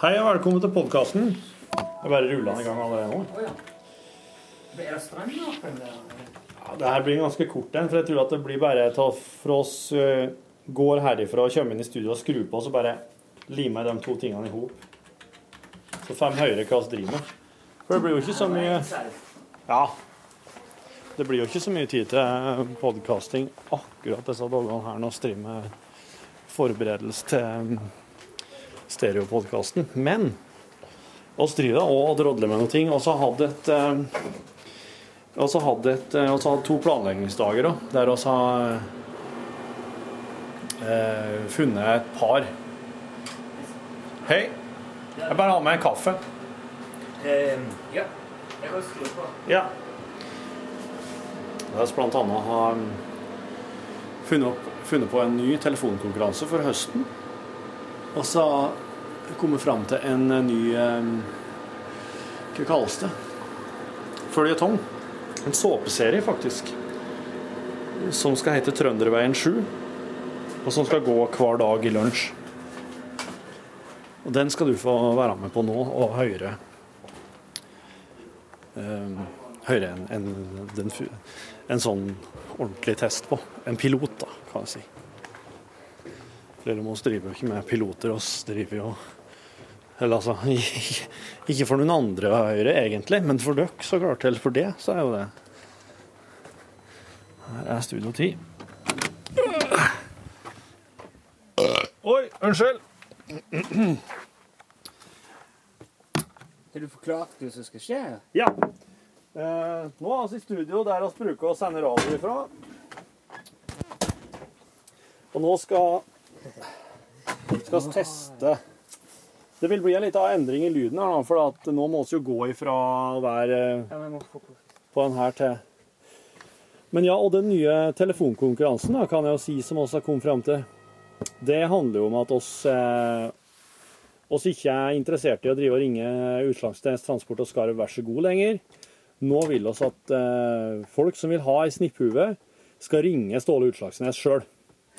Hei og velkommen til podkasten. Jeg bare ruller den i gang allerede nå. Er det strøm i åpen der? Ja, det her blir en ganske kort en, for jeg tror at det blir bare ta fra oss eh, går herifra og kommer inn i studio og skrur på, og så bare limer jeg de to tingene i hop. Så fem høyere hva vi driver med. For det blir jo ikke så mye Ja. Det blir jo ikke så mye tid til podkasting akkurat disse dagene her når vi driver med forberedelse til mm, stereopodkasten. Men oss driver og drodler med noen ting. Og så hadde et eh, og så hadde et, eh, også hadde to planleggingsdager da, der vi har eh, funnet et par. Hei, jeg bare har med en kaffe. Ja. Jeg har skru på. Ja. Der vi blant annet har mm, funnet, opp, funnet på en ny telefonkonkurranse for høsten. Og så kommet fram til en eh, ny eh, Hva kalles det? Føljetong. En såpeserie, faktisk. Som skal hete Trønderveien 7. Og som skal gå hver dag i lunsj. Og den skal du få være med på nå og høre eh, høyere enn enn den fu- en sånn ordentlig test på. En pilot, da, kan jeg si. Selv om oss driver jo ikke med piloter, oss driver jo Eller altså Ikke for noen andre å høre, egentlig, men for dere, så klart. Eller for det, så er jo det. Her er Studio 10. Oi, unnskyld. Har du forklart hva som skal skje? Ja. Eh, nå er vi i studio der vi bruker å sende radio ifra. Og nå skal skal vi teste Det vil bli en liten endring i lyden her, da, for at nå må vi jo gå ifra å være eh, Ja, men jeg må få på. på den her til. Men ja, og den nye telefonkonkurransen da, kan jeg jo si som oss har kommet frem til, det handler jo om at oss, eh, oss ikke er interessert i å drive og ringe Utslagstjenest Transport og Skarv vær så god lenger. Nå vil oss at eh, folk som vil ha ei snipphue, skal ringe Ståle Utslagsnes sjøl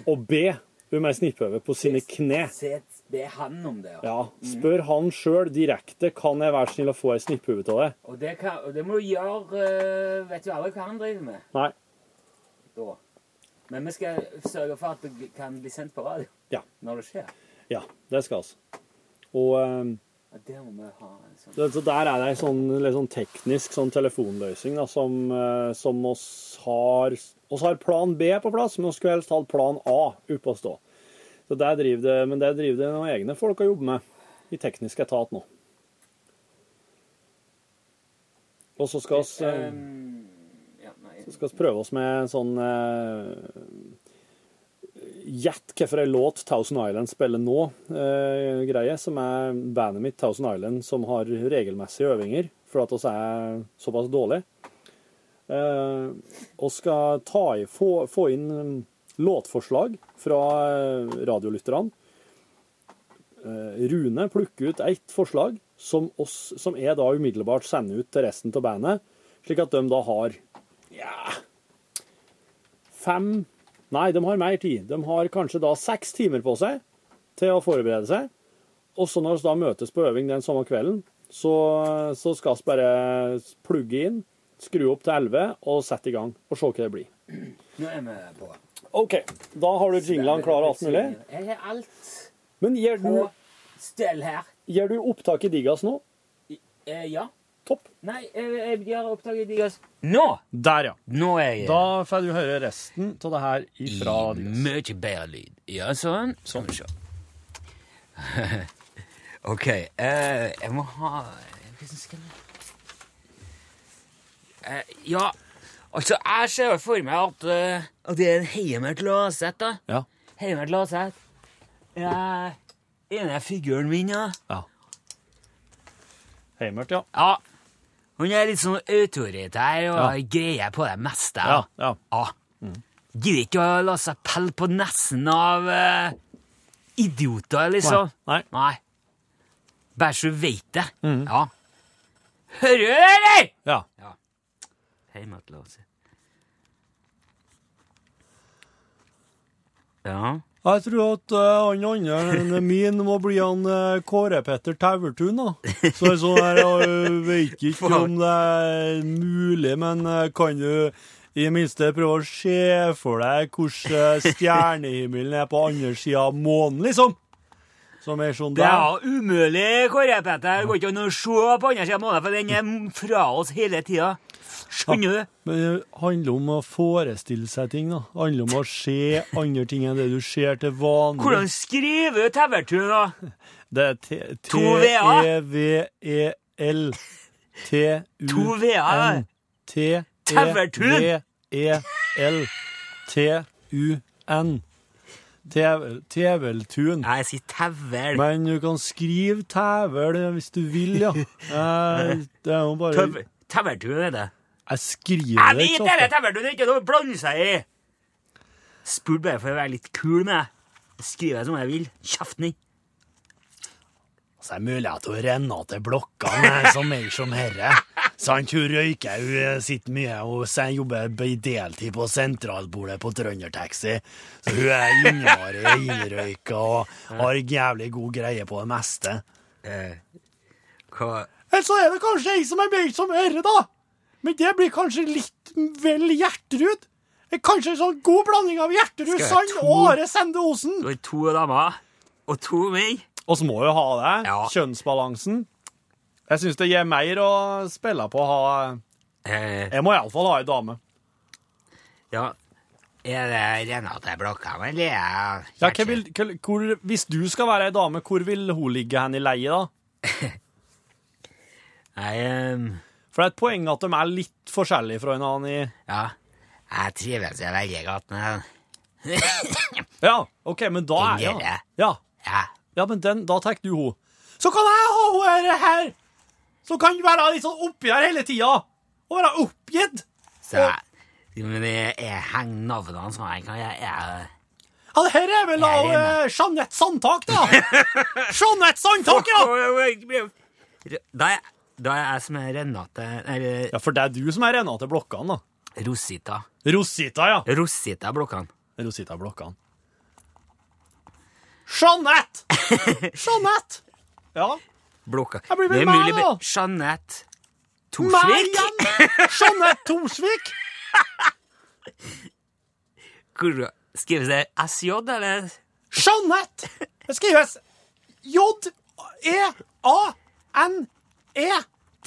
og be om ei snipphue på sine kne. Se, be han om det. Ja, Spør han sjøl direkte kan jeg være snill å få ei snipphue av deg. Og, det kan, og det må du gjøre eh, Vet jo aldri hva han driver med Nei. da. Men vi skal sørge for at det kan bli sendt på radio Ja. når det skjer. Ja, det skal oss. Og eh, Og det må vi ha en sånn det, så der er det ei sånn, litt sånn teknisk sånn telefonløsning da, som, eh, som oss har oss har plan B på plass, men vi skulle helst hatt plan A oppe å stå. Så der driver det, men der driver det noen egne folk og jobber med i teknisk etat nå. Og så skal oss, eh, um, ja, nei. skal oss prøve oss med en sånn eh, Gjett hvilken låt Thousand Island spiller nå, eh, greie, som er bandet mitt Thousand Island, som har regelmessige øvinger, for at oss er såpass dårlige. Eh, og skal ta i, få, få inn mm, låtforslag fra eh, radiolytterne. Eh, Rune plukker ut ett forslag, som, oss, som jeg da umiddelbart sender ut til resten av bandet, slik at de da har ja Fem Nei, de har mer tid. De har kanskje da seks timer på seg til å forberede seg. Og så når vi da møtes på øving den samme kvelden, så, så skal vi bare plugge inn, skru opp til 11 og sette i gang og se hva det blir. Nå er vi på. OK. Da har du jinglene klar og alt mulig. Jeg har alt Men gjør du, på stell her. gjør du opptak i Digas nå? Eh, ja. Topp. Nei, jeg, jeg har oppdaget de altså. guys. Nå! Der, ja. Nå er jeg Da får du høre resten av det her ifra Digas. Mye bedre lyd. Ja, sånn. Skal vi se. OK. eh, jeg må ha Hvordan skal jeg Eh, Ja, altså, jeg ser for meg at, eh, at det er en hjemme til Åseth, da. Ja. Hjemme til Åseth. Ja, ene figuren min, ja. ja. Heimert, ja. ja. Hun er litt sånn autoritær og Ja. greier på det meste. Ja, ja. Ja. Gidder ikke å la seg pelle på nesen av eh, idioter, liksom. Nei, Bare så du veit det. Ja. Hører du det, eller?! Ja. Hei, Matlose. Ja. Jeg tror at eh, han andre enn min må bli han eh, Kåre Petter Tauertun, da. Så jeg er sånn her, jeg vet ikke om det er mulig, men eh, kan du i det minste prøve å se for deg hvordan eh, stjernehimmelen er på andre sida av månen, liksom? Som er sånn Det er der. jo umulig, Kåre Petter. Det går ikke an å se på andre siden av måneden, for den er fra oss hele tida. Skjønner du? Men det handler om å forestille seg ting, da. Det handler om å se andre ting enn det du ser til vanlig. Hvordan skriver du Tauertun, da? Det er T- E, To V-er. T-E-V-E-L. To V-er. T-U-N. E, Tævertun. T-E-V-E-L. T-U-N. Tævel- Tæveltun. Nei, jeg sier Tauvel. Men du kan skrive tævel hvis du vil, ja. Eh, Det er jo bare Tau- Tauertun er det. Jeg skriver Jeg det vet ikke så det, ofte. Tauertun er ikke noe å blande seg i! Spurte bare for å være litt kul med deg. Skriver jeg som jeg vil. Kjeften din. Så er det mulighet til å renne til blokkene eh, som mer som herre. Sant, hun røyker, hun eh, sitter mye og så jobber i deltid på sentralbordet på Trøndertaxi. Så hun er innmari innrøyka og har jævlig god greie på det meste. Eh, hva Eller så er det kanskje jeg som er mer som herre, da. Men det blir kanskje litt vel Gjertrud. Det er Kanskje en sånn god blanding av Gjertrud Skal jeg Sand tro- og Are Sende Osen. Du har to damer og to menn. Og så må jo ha det. Ja. Kjønnsbalansen. Jeg syns det gir mer å spille på å ha Eh, Jeg må iallfall ha ei dame. ja. Er det Renate Blokkan, eller? er det Ja, hva vil, hva, hvor, hvis du skal være ei dame, hvor vil hun ligge hen i leie, da? Nei, ehm, For det er et poeng at de er litt forskjellige fra en annen i ja. Jeg trives i veldig godt med den. Ja, OK, men da er Den gjør ja. det. ja. Ja. Ja, men den, da tar du hun. Så kan jeg ha hun her, her! Så kan du være litt sånn oppi her hele tida! Og være oppgitt! Så jeg, jo, men jeg, jeg henger navnene som jeg kan. Jeg, jeg, Ja, det her er vel da Jeg er eh, Jeanette Sandtak, da! Jeanette Sandtak, ja! Da er, da er jeg som er Renate Eller Ja, for det er du som er Renate Blokkan, da. Rosita. Rosita, ja. Rosita Blokkan. Rosita Blokkan. Jeanette! Jeanette! Ja. Blokkan. Jeg blir vel Det er mulig, meg, men- da. Jeanette Meg Torsvik? igjen! Jeanette Torsvik! Hvor- Skrives det SJ, eller? Jeanette! Det skrives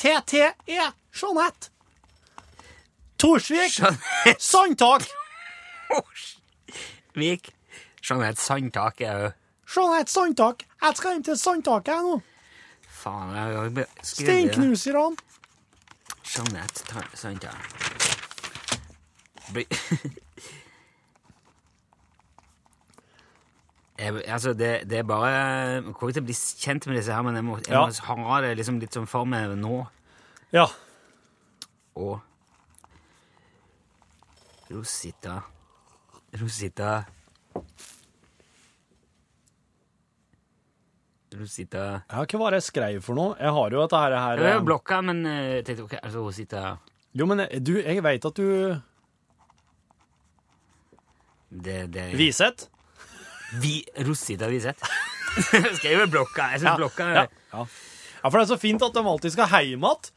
J-E-A-N-E-T-T-E. Jeanette. Torsvik. Jeanette Sandtak. Vik? Jeanette Sandtak er jo Jeanette Sandtak. Jeg skal hjem til Sandtaket jeg nå. Faen, jeg har jo skrevet det. Steinknuserne. Jeanette Ta- Sandtak. Bli- Jeg, altså, det, det er bare Jeg kommer ikke til å bli kjent med disse her, men jeg må, jeg Ja. må ha det liksom litt sånn for meg nå. Ja. og Rosita Rosita Rosita Ja, Hva var det jeg skrev for noe? Jeg har jo dette her, Det her var jo eh, blokka, men eh, jeg tenkte ok, altså Rosita Jo, men eh, du, jeg veit at du det, det, Viset? vi, Rosita Wiseth. Skriver blokka. Jeg syns Ja, blokka ja, ja. ja, for det er så fint at de alltid skal heim igjen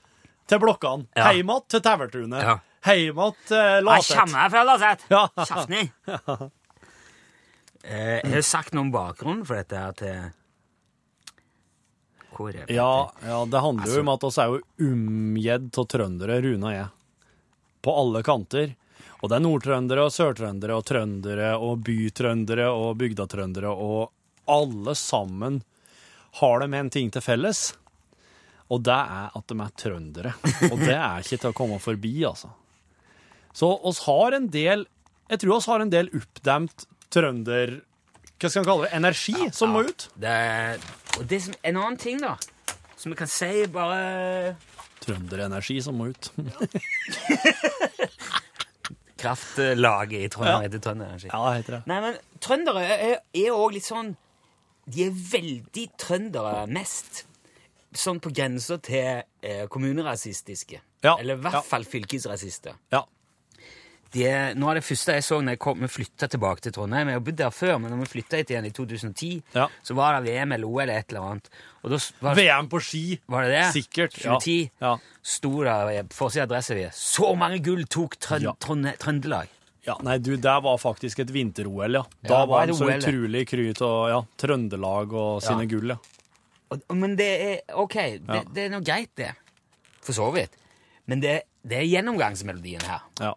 til blokkene. Ja. Heim igjen til Tævertunet. Ja. Heim igjen til Jeg Laset. kommer fra Laset! Ja. Kjeften din! Eh, jeg har sagt noe om bakgrunnen for dette eh, her til Kåre. Ja, ja, det handler jo Altså- om at oss er jo omgitt av trøndere, Rune og jeg. På alle kanter. Og det er nordtrøndere og sørtrøndere og trøndere og bytrøndere og bygdatrøndere, og alle sammen har de en ting til felles. Og det er at de er trøndere. Og det er ikke til å komme forbi, altså. Så oss har en del Jeg tror oss har en del oppdemt trønder... Hva skal man kalle det? Energi som må ut. Det, og det som, en annen ting, da, som vi kan si bare Trønderenergi som må ut. Kraftlaget i Trondheim heter Trønderenergi. Ja, det heter det. Nei, men trøndere er- er òg litt sånn De er veldig trøndere mest. Sånn på grensa til eh, kommunerasistiske. Ja, Eller i hvert ja. fall fylkesrasister. Ja. det, noe av det første jeg så når jeg kom, vi flytta tilbake til Trondheim Jeg har bodd der før, men når vi flytta hit igjen i 2010, Ja. så var det E VM eller OL eller et eller annet. Og da s- var, VM på ski! var det eh, det? Sikkert. 2010. Ja. Sto der på forsida av Adresseavisen 'Så mange gull tok Trøn Ja. Trønde- Trøndelag'. Ja, nei, du, det var faktisk et vinter-OL, ja. Ja, Da det var var de et så OL, ja. utrolig kry av ja, Trøndelag og sine gull, ja. Og, og- men det er OK, det, Ja. det er nå greit, det. For så vidt. Men det, det er gjennomgangsmelodien her. ja.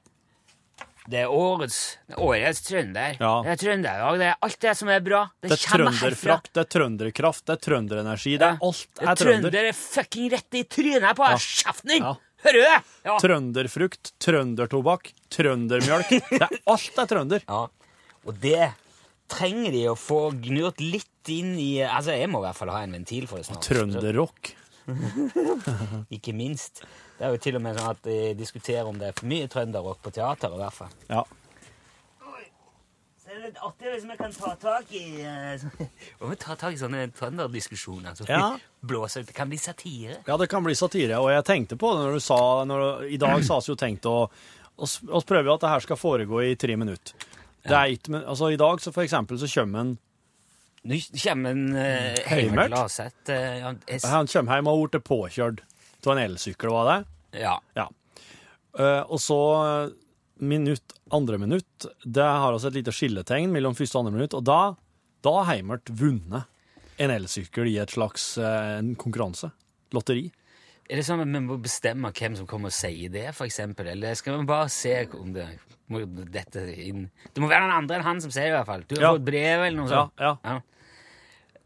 Det er årets Årets trønder. Ja. Det er trønderlag. Det er alt det som er bra. Det er kommer herfra. trønderfrakt, det er trønderekraft, det er trønderenergi, det er alt Det er trønder. er fucking rett i trynet på ja. Skjefting! Ja. Hører du det? Ja. Trønderfrukt, trøndertobakk, trøndermjølk. Det er alt er trønder. ja. Og det trenger de å få gnurt litt inn i Altså, jeg må i hvert fall ha en ventil for det snart. Trønderrock. Ikke minst. Det er jo til og med sånn at de diskuterer om det er for mye trønderrock på teateret, i hvert fall. Ja. Så er det litt artig hvis vi kan ta tak i eh, så- Om vi tar tak i sånne trønderdiskusjoner som Ja. blåser ut. Det kan bli satire. ja, det kan bli satire, og jeg tenkte på det når du sa når, I dag sa vi jo tenkt å oss, oss prøver jo at det her skal foregå i tre minutter. Det er ikke, men, altså, I dag så for eksempel så kommer en Nå kommer en eh, uh, Heimert. Heimert Laseth. eh, han- jeg s- Han kommer hjem og har blitt påkjørt av en elsykkel, var det? ja. Ja. Eh, og så eh, minutt, andre minutt, det har altså et lite skilletegn mellom første og andre minutt, og da, da har Heimert vunnet en elsykkel i et slags eh, en konkurranse. Lotteri. Er det sånn at vi må bestemme hvem som kommer og sier det, for eksempel? Eller skal vi bare se om det må dette inn Det må være noen andre enn han som sier det, i hvert fall. Du har Ja. fått brev eller noe Ja, sånt. ja, Ja.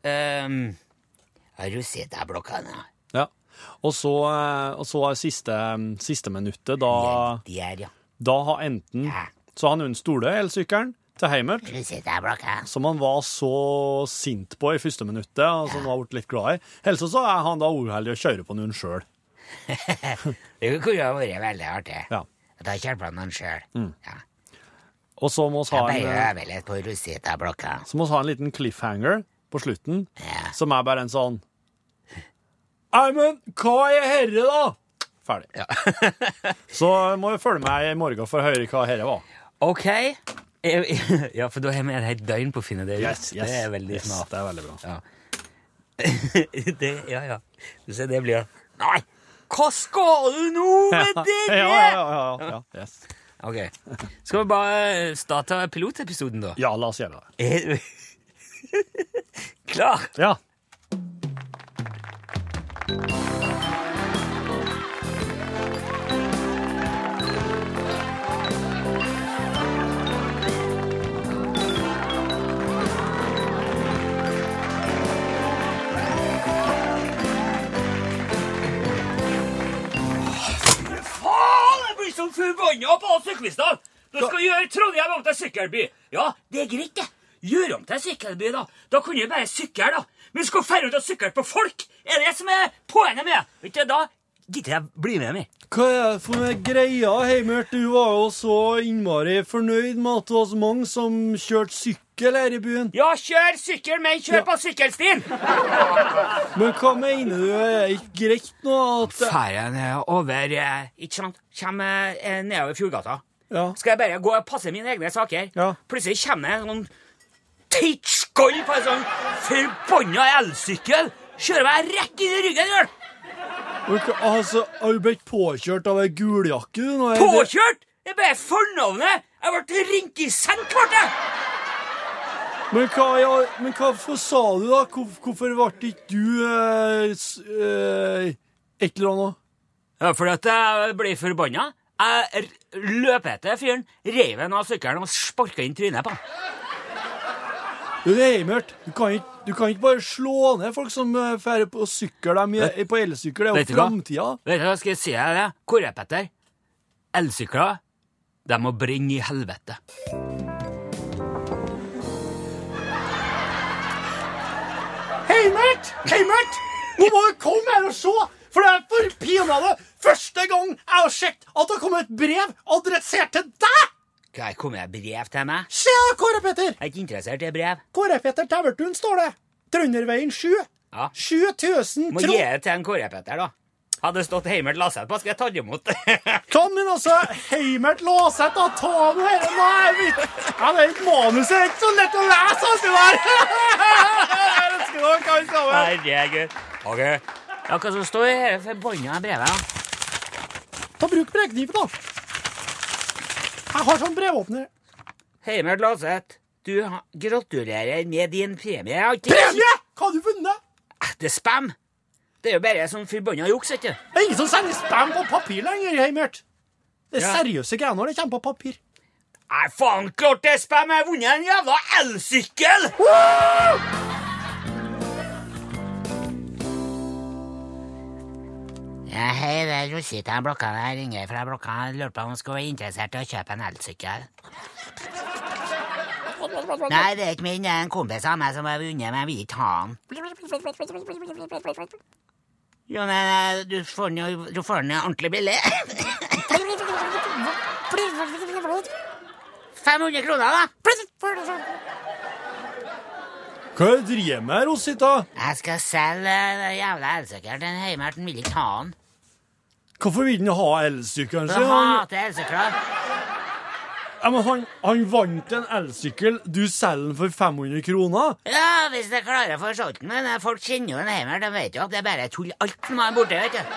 Ehm, har du sett de blokkene? ja. Og så, eh, og så er siste, siste minuttet, da, De er, ja. da har enten Ja. Så har han vunnet stole elsykkelen til Heimert, Har du sett de blokkene? som han var så sint på i første minuttet, og som han har blitt litt glad i. Helst så er han da uheldig å kjøre på noen sjøl. Det kunne ha vært veldig artig. Ja. At han kjørte på noen sjøl. Mm. Ja. Og så må vi Jeg ha bare en eh, øver litt på Rosetta-blokka. Så må vi ha en liten cliffhanger på slutten, Ja. som er bare en sånn Nei, men hva er herre, da? Ferdig. så må du følge med i morgen for å høre hva herre var. OK. Ja, for da har vi et helt døgn på å finne det ut. Det er veldig Yes, smart. Det er veldig bra. Ja. det, ja, ja. Du ser, det blir Nei! Hva skal du nå med det?! Ja, ja, ja, ja, ja. Yes. Ok. Skal vi bare starte pilotepisoden, da? ja, la oss gjøre det. Er du klar? Ja. Faen, jeg blir så forbanna på oss syklister! Da skal vi gjøre Trondheim om til sykkelby. Ja, det er greit, det. Gjør om til sykkelby, da. Da kunne vi bare sykle, da. Men skal færre ut og sykle på folk! Er det som er poenget med det? Vet du, Da gidder jeg bli med mer. Hva er det for noe greia, Heimert? Du var jo så innmari fornøyd med at det var så mange som kjørte sykkel her i byen. Ja, kjør sykkel, men kjør Ja. på sykkelstien! Men hva mener du er ikke greit nå? At, Ferjen er over eh, Ikke sant? Kommer eh, nedover Fjordgata. ja. Skal jeg bare gå og passe mine egne saker? Ja. Plutselig kommer det en sånn teitskoll på en sånn forbanna elsykkel! Kjører meg rett inn i ryggen! Gjør. det. Men hva- Altså, har du blitt påkjørt av ei guljakke, du? Nå er det- Påkjørt! Det er bare fornavnet! Jeg ble ringt i senk, ble jeg! Men hva, ja, men hva for sa du, da? Hvor, hvorfor ble ikke du eh, s- eh, et eller annet? Ja, fordi at jeg ble forbanna. Jeg r- løp etter fyren, reiv han av sykkelen og sparka inn trynet på han. Du, det er Heimert, du kan, ikke, du kan ikke bare slå ned folk som eh, fer på sykkel dem i- på elsykkel. Det er Vet jo du hva? framtida. Vet du hva, skal jeg si deg det? Hvor er Petter? Elsykler, de må brenne i helvete. Heimert! Heimert! Nå må du komme her og se! For det er for pinadø første gang jeg har sett at det har kommet et brev adressert til deg! Hva, kommer det brev til meg? Se, Kåre Petter! Jeg er ikke interessert i brev. Kåre Petter Tævertun står det. Trønderveien 7. Ja. 7000 Må tro... gi det til en Kåre Petter, da. Hadde stått Heimert Laseth på, skal jeg tatt imot det. Kom inn, altså! Heimert Låseth, da! Ta nå dette! Nei, mitt ja, det er ikke manuset er ikke så lett å lese, alt det der! Jeg elsker dere, alle sammen! Herregud. Ok. Ja, hva som står i dette forbanna brevet? da? Ta Bruk brekniven, da. Jeg har sånn brevåpner. Heimert Laseth, du ha- gratulerer med din premie. Jeg har ikke- Premie! Hva har du vunnet? Det er spam. Det er jo bare sånn forbanna juks, vet du. Det er ingen som sender spam på papir lenger, Heimert. Det er Ja. seriøse greier når det kommer på papir. Nei, faen, klart det er spam! Jeg har vunnet en jævla elsykkel! Ja, hei, det er Rosita i blokka. Jeg ringer fra blokka. Jeg Lurer på om hun skulle være interessert i å kjøpe en elsykkel. Nei, det er ikke min. Det er en kompis av meg som har vunnet, men jeg vil ikke ha den. Jo, nei, nei, du får den jo du får den jo ordentlig billig. 500 kroner, da. Hva er det du driver med, Rosita? Jeg skal selge den jævla elsykkelen til Heimert. Han vil ikke ha den. Hvorfor vil han ha elsykkelen Han sin? Han, hater elsykler. ja, men han, han vant en elsykkel. Du selger den for 500 kroner? Ja, hvis jeg klarer å få solgt den, men eh, folk kjenner jo den Heimert, de vet jo at det er bare tull alt som er borte, vet du.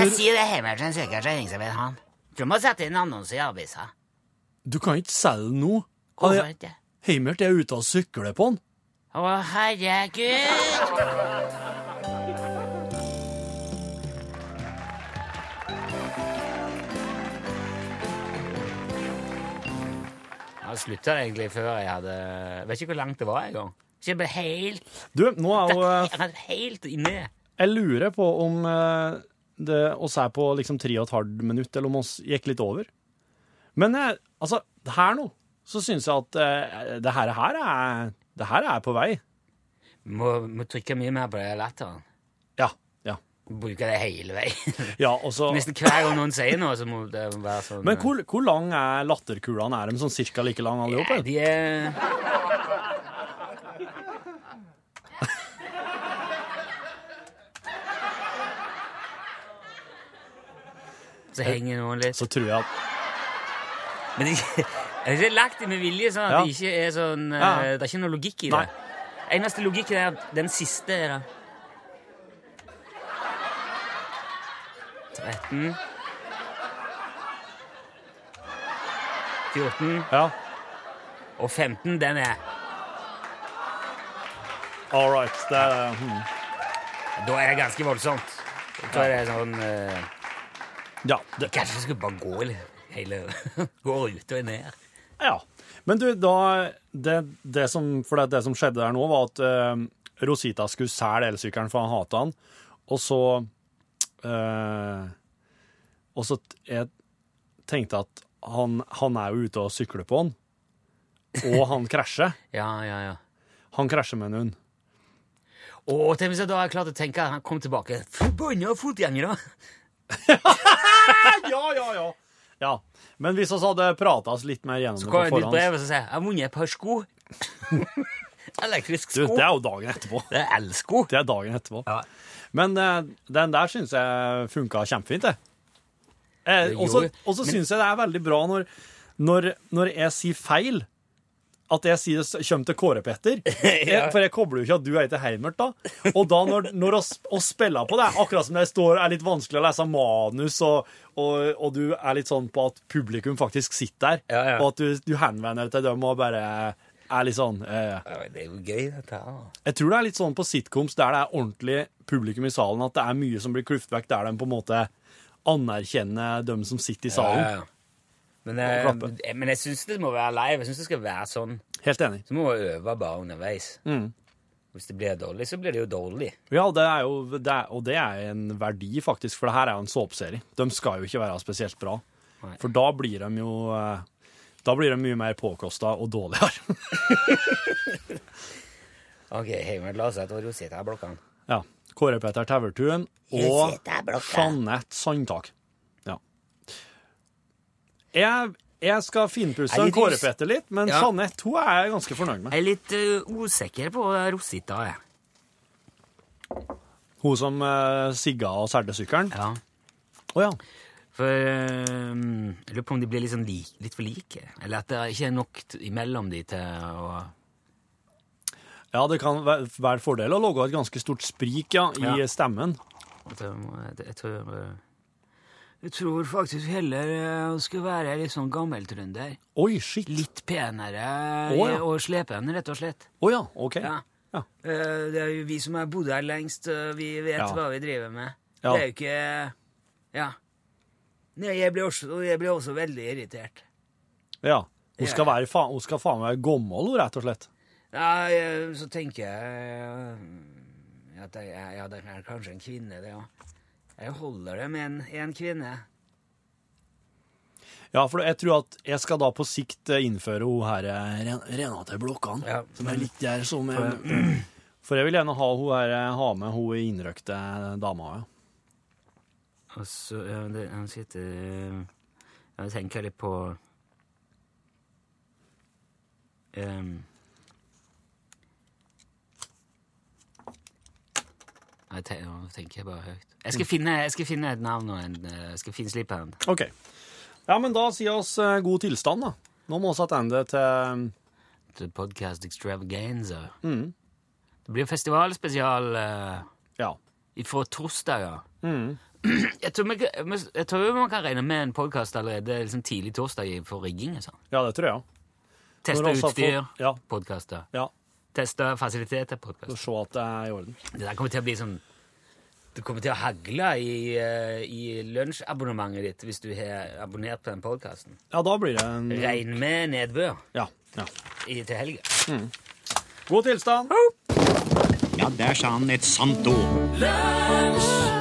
Jeg sier det er Heimert som søker seg ingen som vil ha den. Tror må sette inn annonse i avisa. Du kan ikke selge den nå. Han Hvorfor er- ikke? Heimert er ute og sykler på han. Å, herregud! Jeg slutta egentlig før jeg hadde Vet ikke hvor langt det var engang. Jeg ble helt, Du, nå er jo eh, helt inne. Jeg lurer på om eh, det oss er på liksom tre og et halvt minutt, eller om oss gikk litt over. Men eh, altså, her nå, så syns jeg at eh, det her, her er Det her er på vei. Må, må trykke mye mer på det latteren. Ja. Ja. Bruke det hele veien. ja og så Nesten hver gang noen sier noe, så må det være sånn Men hvor, hvor lang er latterkulene? Er de sånn cirka like lang alle Nei, sammen? de er... Så henger noen litt Så tror jeg at Men de, jeg har lagt det med vilje, sånn at Ja. det ikke er sånn eh, Ja. Det er ikke noe logikk i Nei. det. Eneste logikk er at den siste er da 13 14 Ja. og 15, den er All right. Det er hmm. Da er det ganske voldsomt. Da er det sånn eh, Ja. Det, Kanskje jeg skulle bare gå eller, hele Gå ut og ned. ja. Men du, da det, det som For det, det som skjedde der nå, var at eh, Rosita skulle selge elsykkelen, for han hata han. Og så eh, Og så t- jeg tenkte at han, han er jo ute og sykler på han, og han krasjer. Ja, ja, ja. Han krasjer med en hund. Og tenk hvis jeg da har klart å tenke at han kom tilbake. Forbanna fotgjengere! Ja, ja, ja. Ja, Men hvis vi hadde prata oss litt mer gjennom Så det kommer på det et nytt forhånd brev og så sier jeg, jeg har vunnet et par sko. Elektrisk Du, sko. det er jo dagen etterpå. Det er elsko. Det er dagen etterpå. Ja. Men eh, den der syns jeg funka kjempefint, det. Eh, Det og så- gjorde- og så men- syns jeg det er veldig bra når, når, når jeg sier feil, at jeg sier det kommer til Kåre Petter. Jeg- For jeg kobler jo ikke at du heter Heimert, da. Og da når, når oss, oss spiller på det, akkurat som det står er litt vanskelig å lese manus, og, og, og du er litt sånn på at publikum faktisk sitter der, Ja, ja. og at du, du henvender deg til dem og bare er litt sånn eh, Det er jo gøy, dette her. jeg tror det er litt sånn på sitcoms der det er ordentlig publikum i salen, at det er mye som blir klyft vekk, der de på en måte anerkjenner dem som sitter i salen. Men, Og eh, klappe. jeg- men jeg syns det må være live. Jeg synes det skal være sånn. Helt enig. Så må man øve bare underveis. Mm. Hvis det blir dårlig, så blir det jo dårlig. Ja, det er jo, det er, og det er en verdi, faktisk, for det her er jo en såpeserie. De skal jo ikke være spesielt bra. Nei. For da blir de jo eh, Da blir de mye mer påkosta og dårligere. Ok, Heimert Laseth og Rosita i blokkene. ja. Kåre Petter Tauvertun og sitter her blokka. Jeanette Sandtak. Ja. Jeg, jeg skal finpusse Jeg er en litt Kåre us- Petter litt, men Ja. Jeanette hun er jeg ganske fornøyd med. Jeg er litt eh, usikker på Rosita. Jeg. Hun som eh, sigga og serde sykkelen? Ja. Å ja. For øhm, jeg lurer på om de blir litt, sånn lik, litt for like. Eller at det ikke er nok t imellom de til å Ja, det kan væ- være fordel å lage et ganske stort sprik ja, i Ja. stemmen. at jeg må- Jeg tror, øh, jeg tror faktisk heller øh, hun skal være litt sånn gammeltrønder. Oi, shit! Å Litt penere Å, ja. og slepen, rett og slett. ja, OK. Ja. Ja. Eh, Det er jo vi som har bodd her lengst, og vi vet Ja. hva vi driver med. Ja. Det er jo ikke Ja. Nei, jeg blir også, jeg blir også veldig irritert. ja. Hun skal Ja. være faen hun skal faen meg være gammel, hun, rett og slett. Ja, jeg, så tenker jeg eh, at jeg, jeg- ja, det er kanskje en kvinne, det òg. Jeg holder det med en, en kvinne. Ja, for jeg tror at jeg skal da på sikt eh, innføre hun her eh, Ren- Renate Blokkan, Ja. som er litt der som eh, For jeg vil gjerne ha, hun her, eh, ha med hun innrøkte dama. Ja. Og så ja, det, Han sitter ja, Jeg tenker litt på ehm, jeg tenker, Nå tenker jeg bare høyt. Jeg skal, finne, jeg skal finne et navn og en eh, Jeg skal finne sliphand. OK. Ja, men da sier oss eh, god tilstand, da. Nå må vi tilbake til eh, The Podcast Extravaganza. Det blir festivalspesial eh, Ja. ifra torsdager. Jeg tror, vi, kan- jeg tror man kan regne med en podkast allerede liksom tidlig torsdag for rigging. og sånn. ja, det tror jeg. ja. Teste Når vi også har utstyr, fått- ja. podkaster. Ja, Teste fasiliteter, Så podkast. se at det er i orden. Det der kommer til å bli sånn Det kommer til å hagle i, eh, i lunsjabonnementet ditt hvis du har abonnert på den podkasten. Ja, da blir det en Regn med nedbør Ja. ja. i, til helga. God tilstand. Ja, der sa han et sant ord. Lunsj!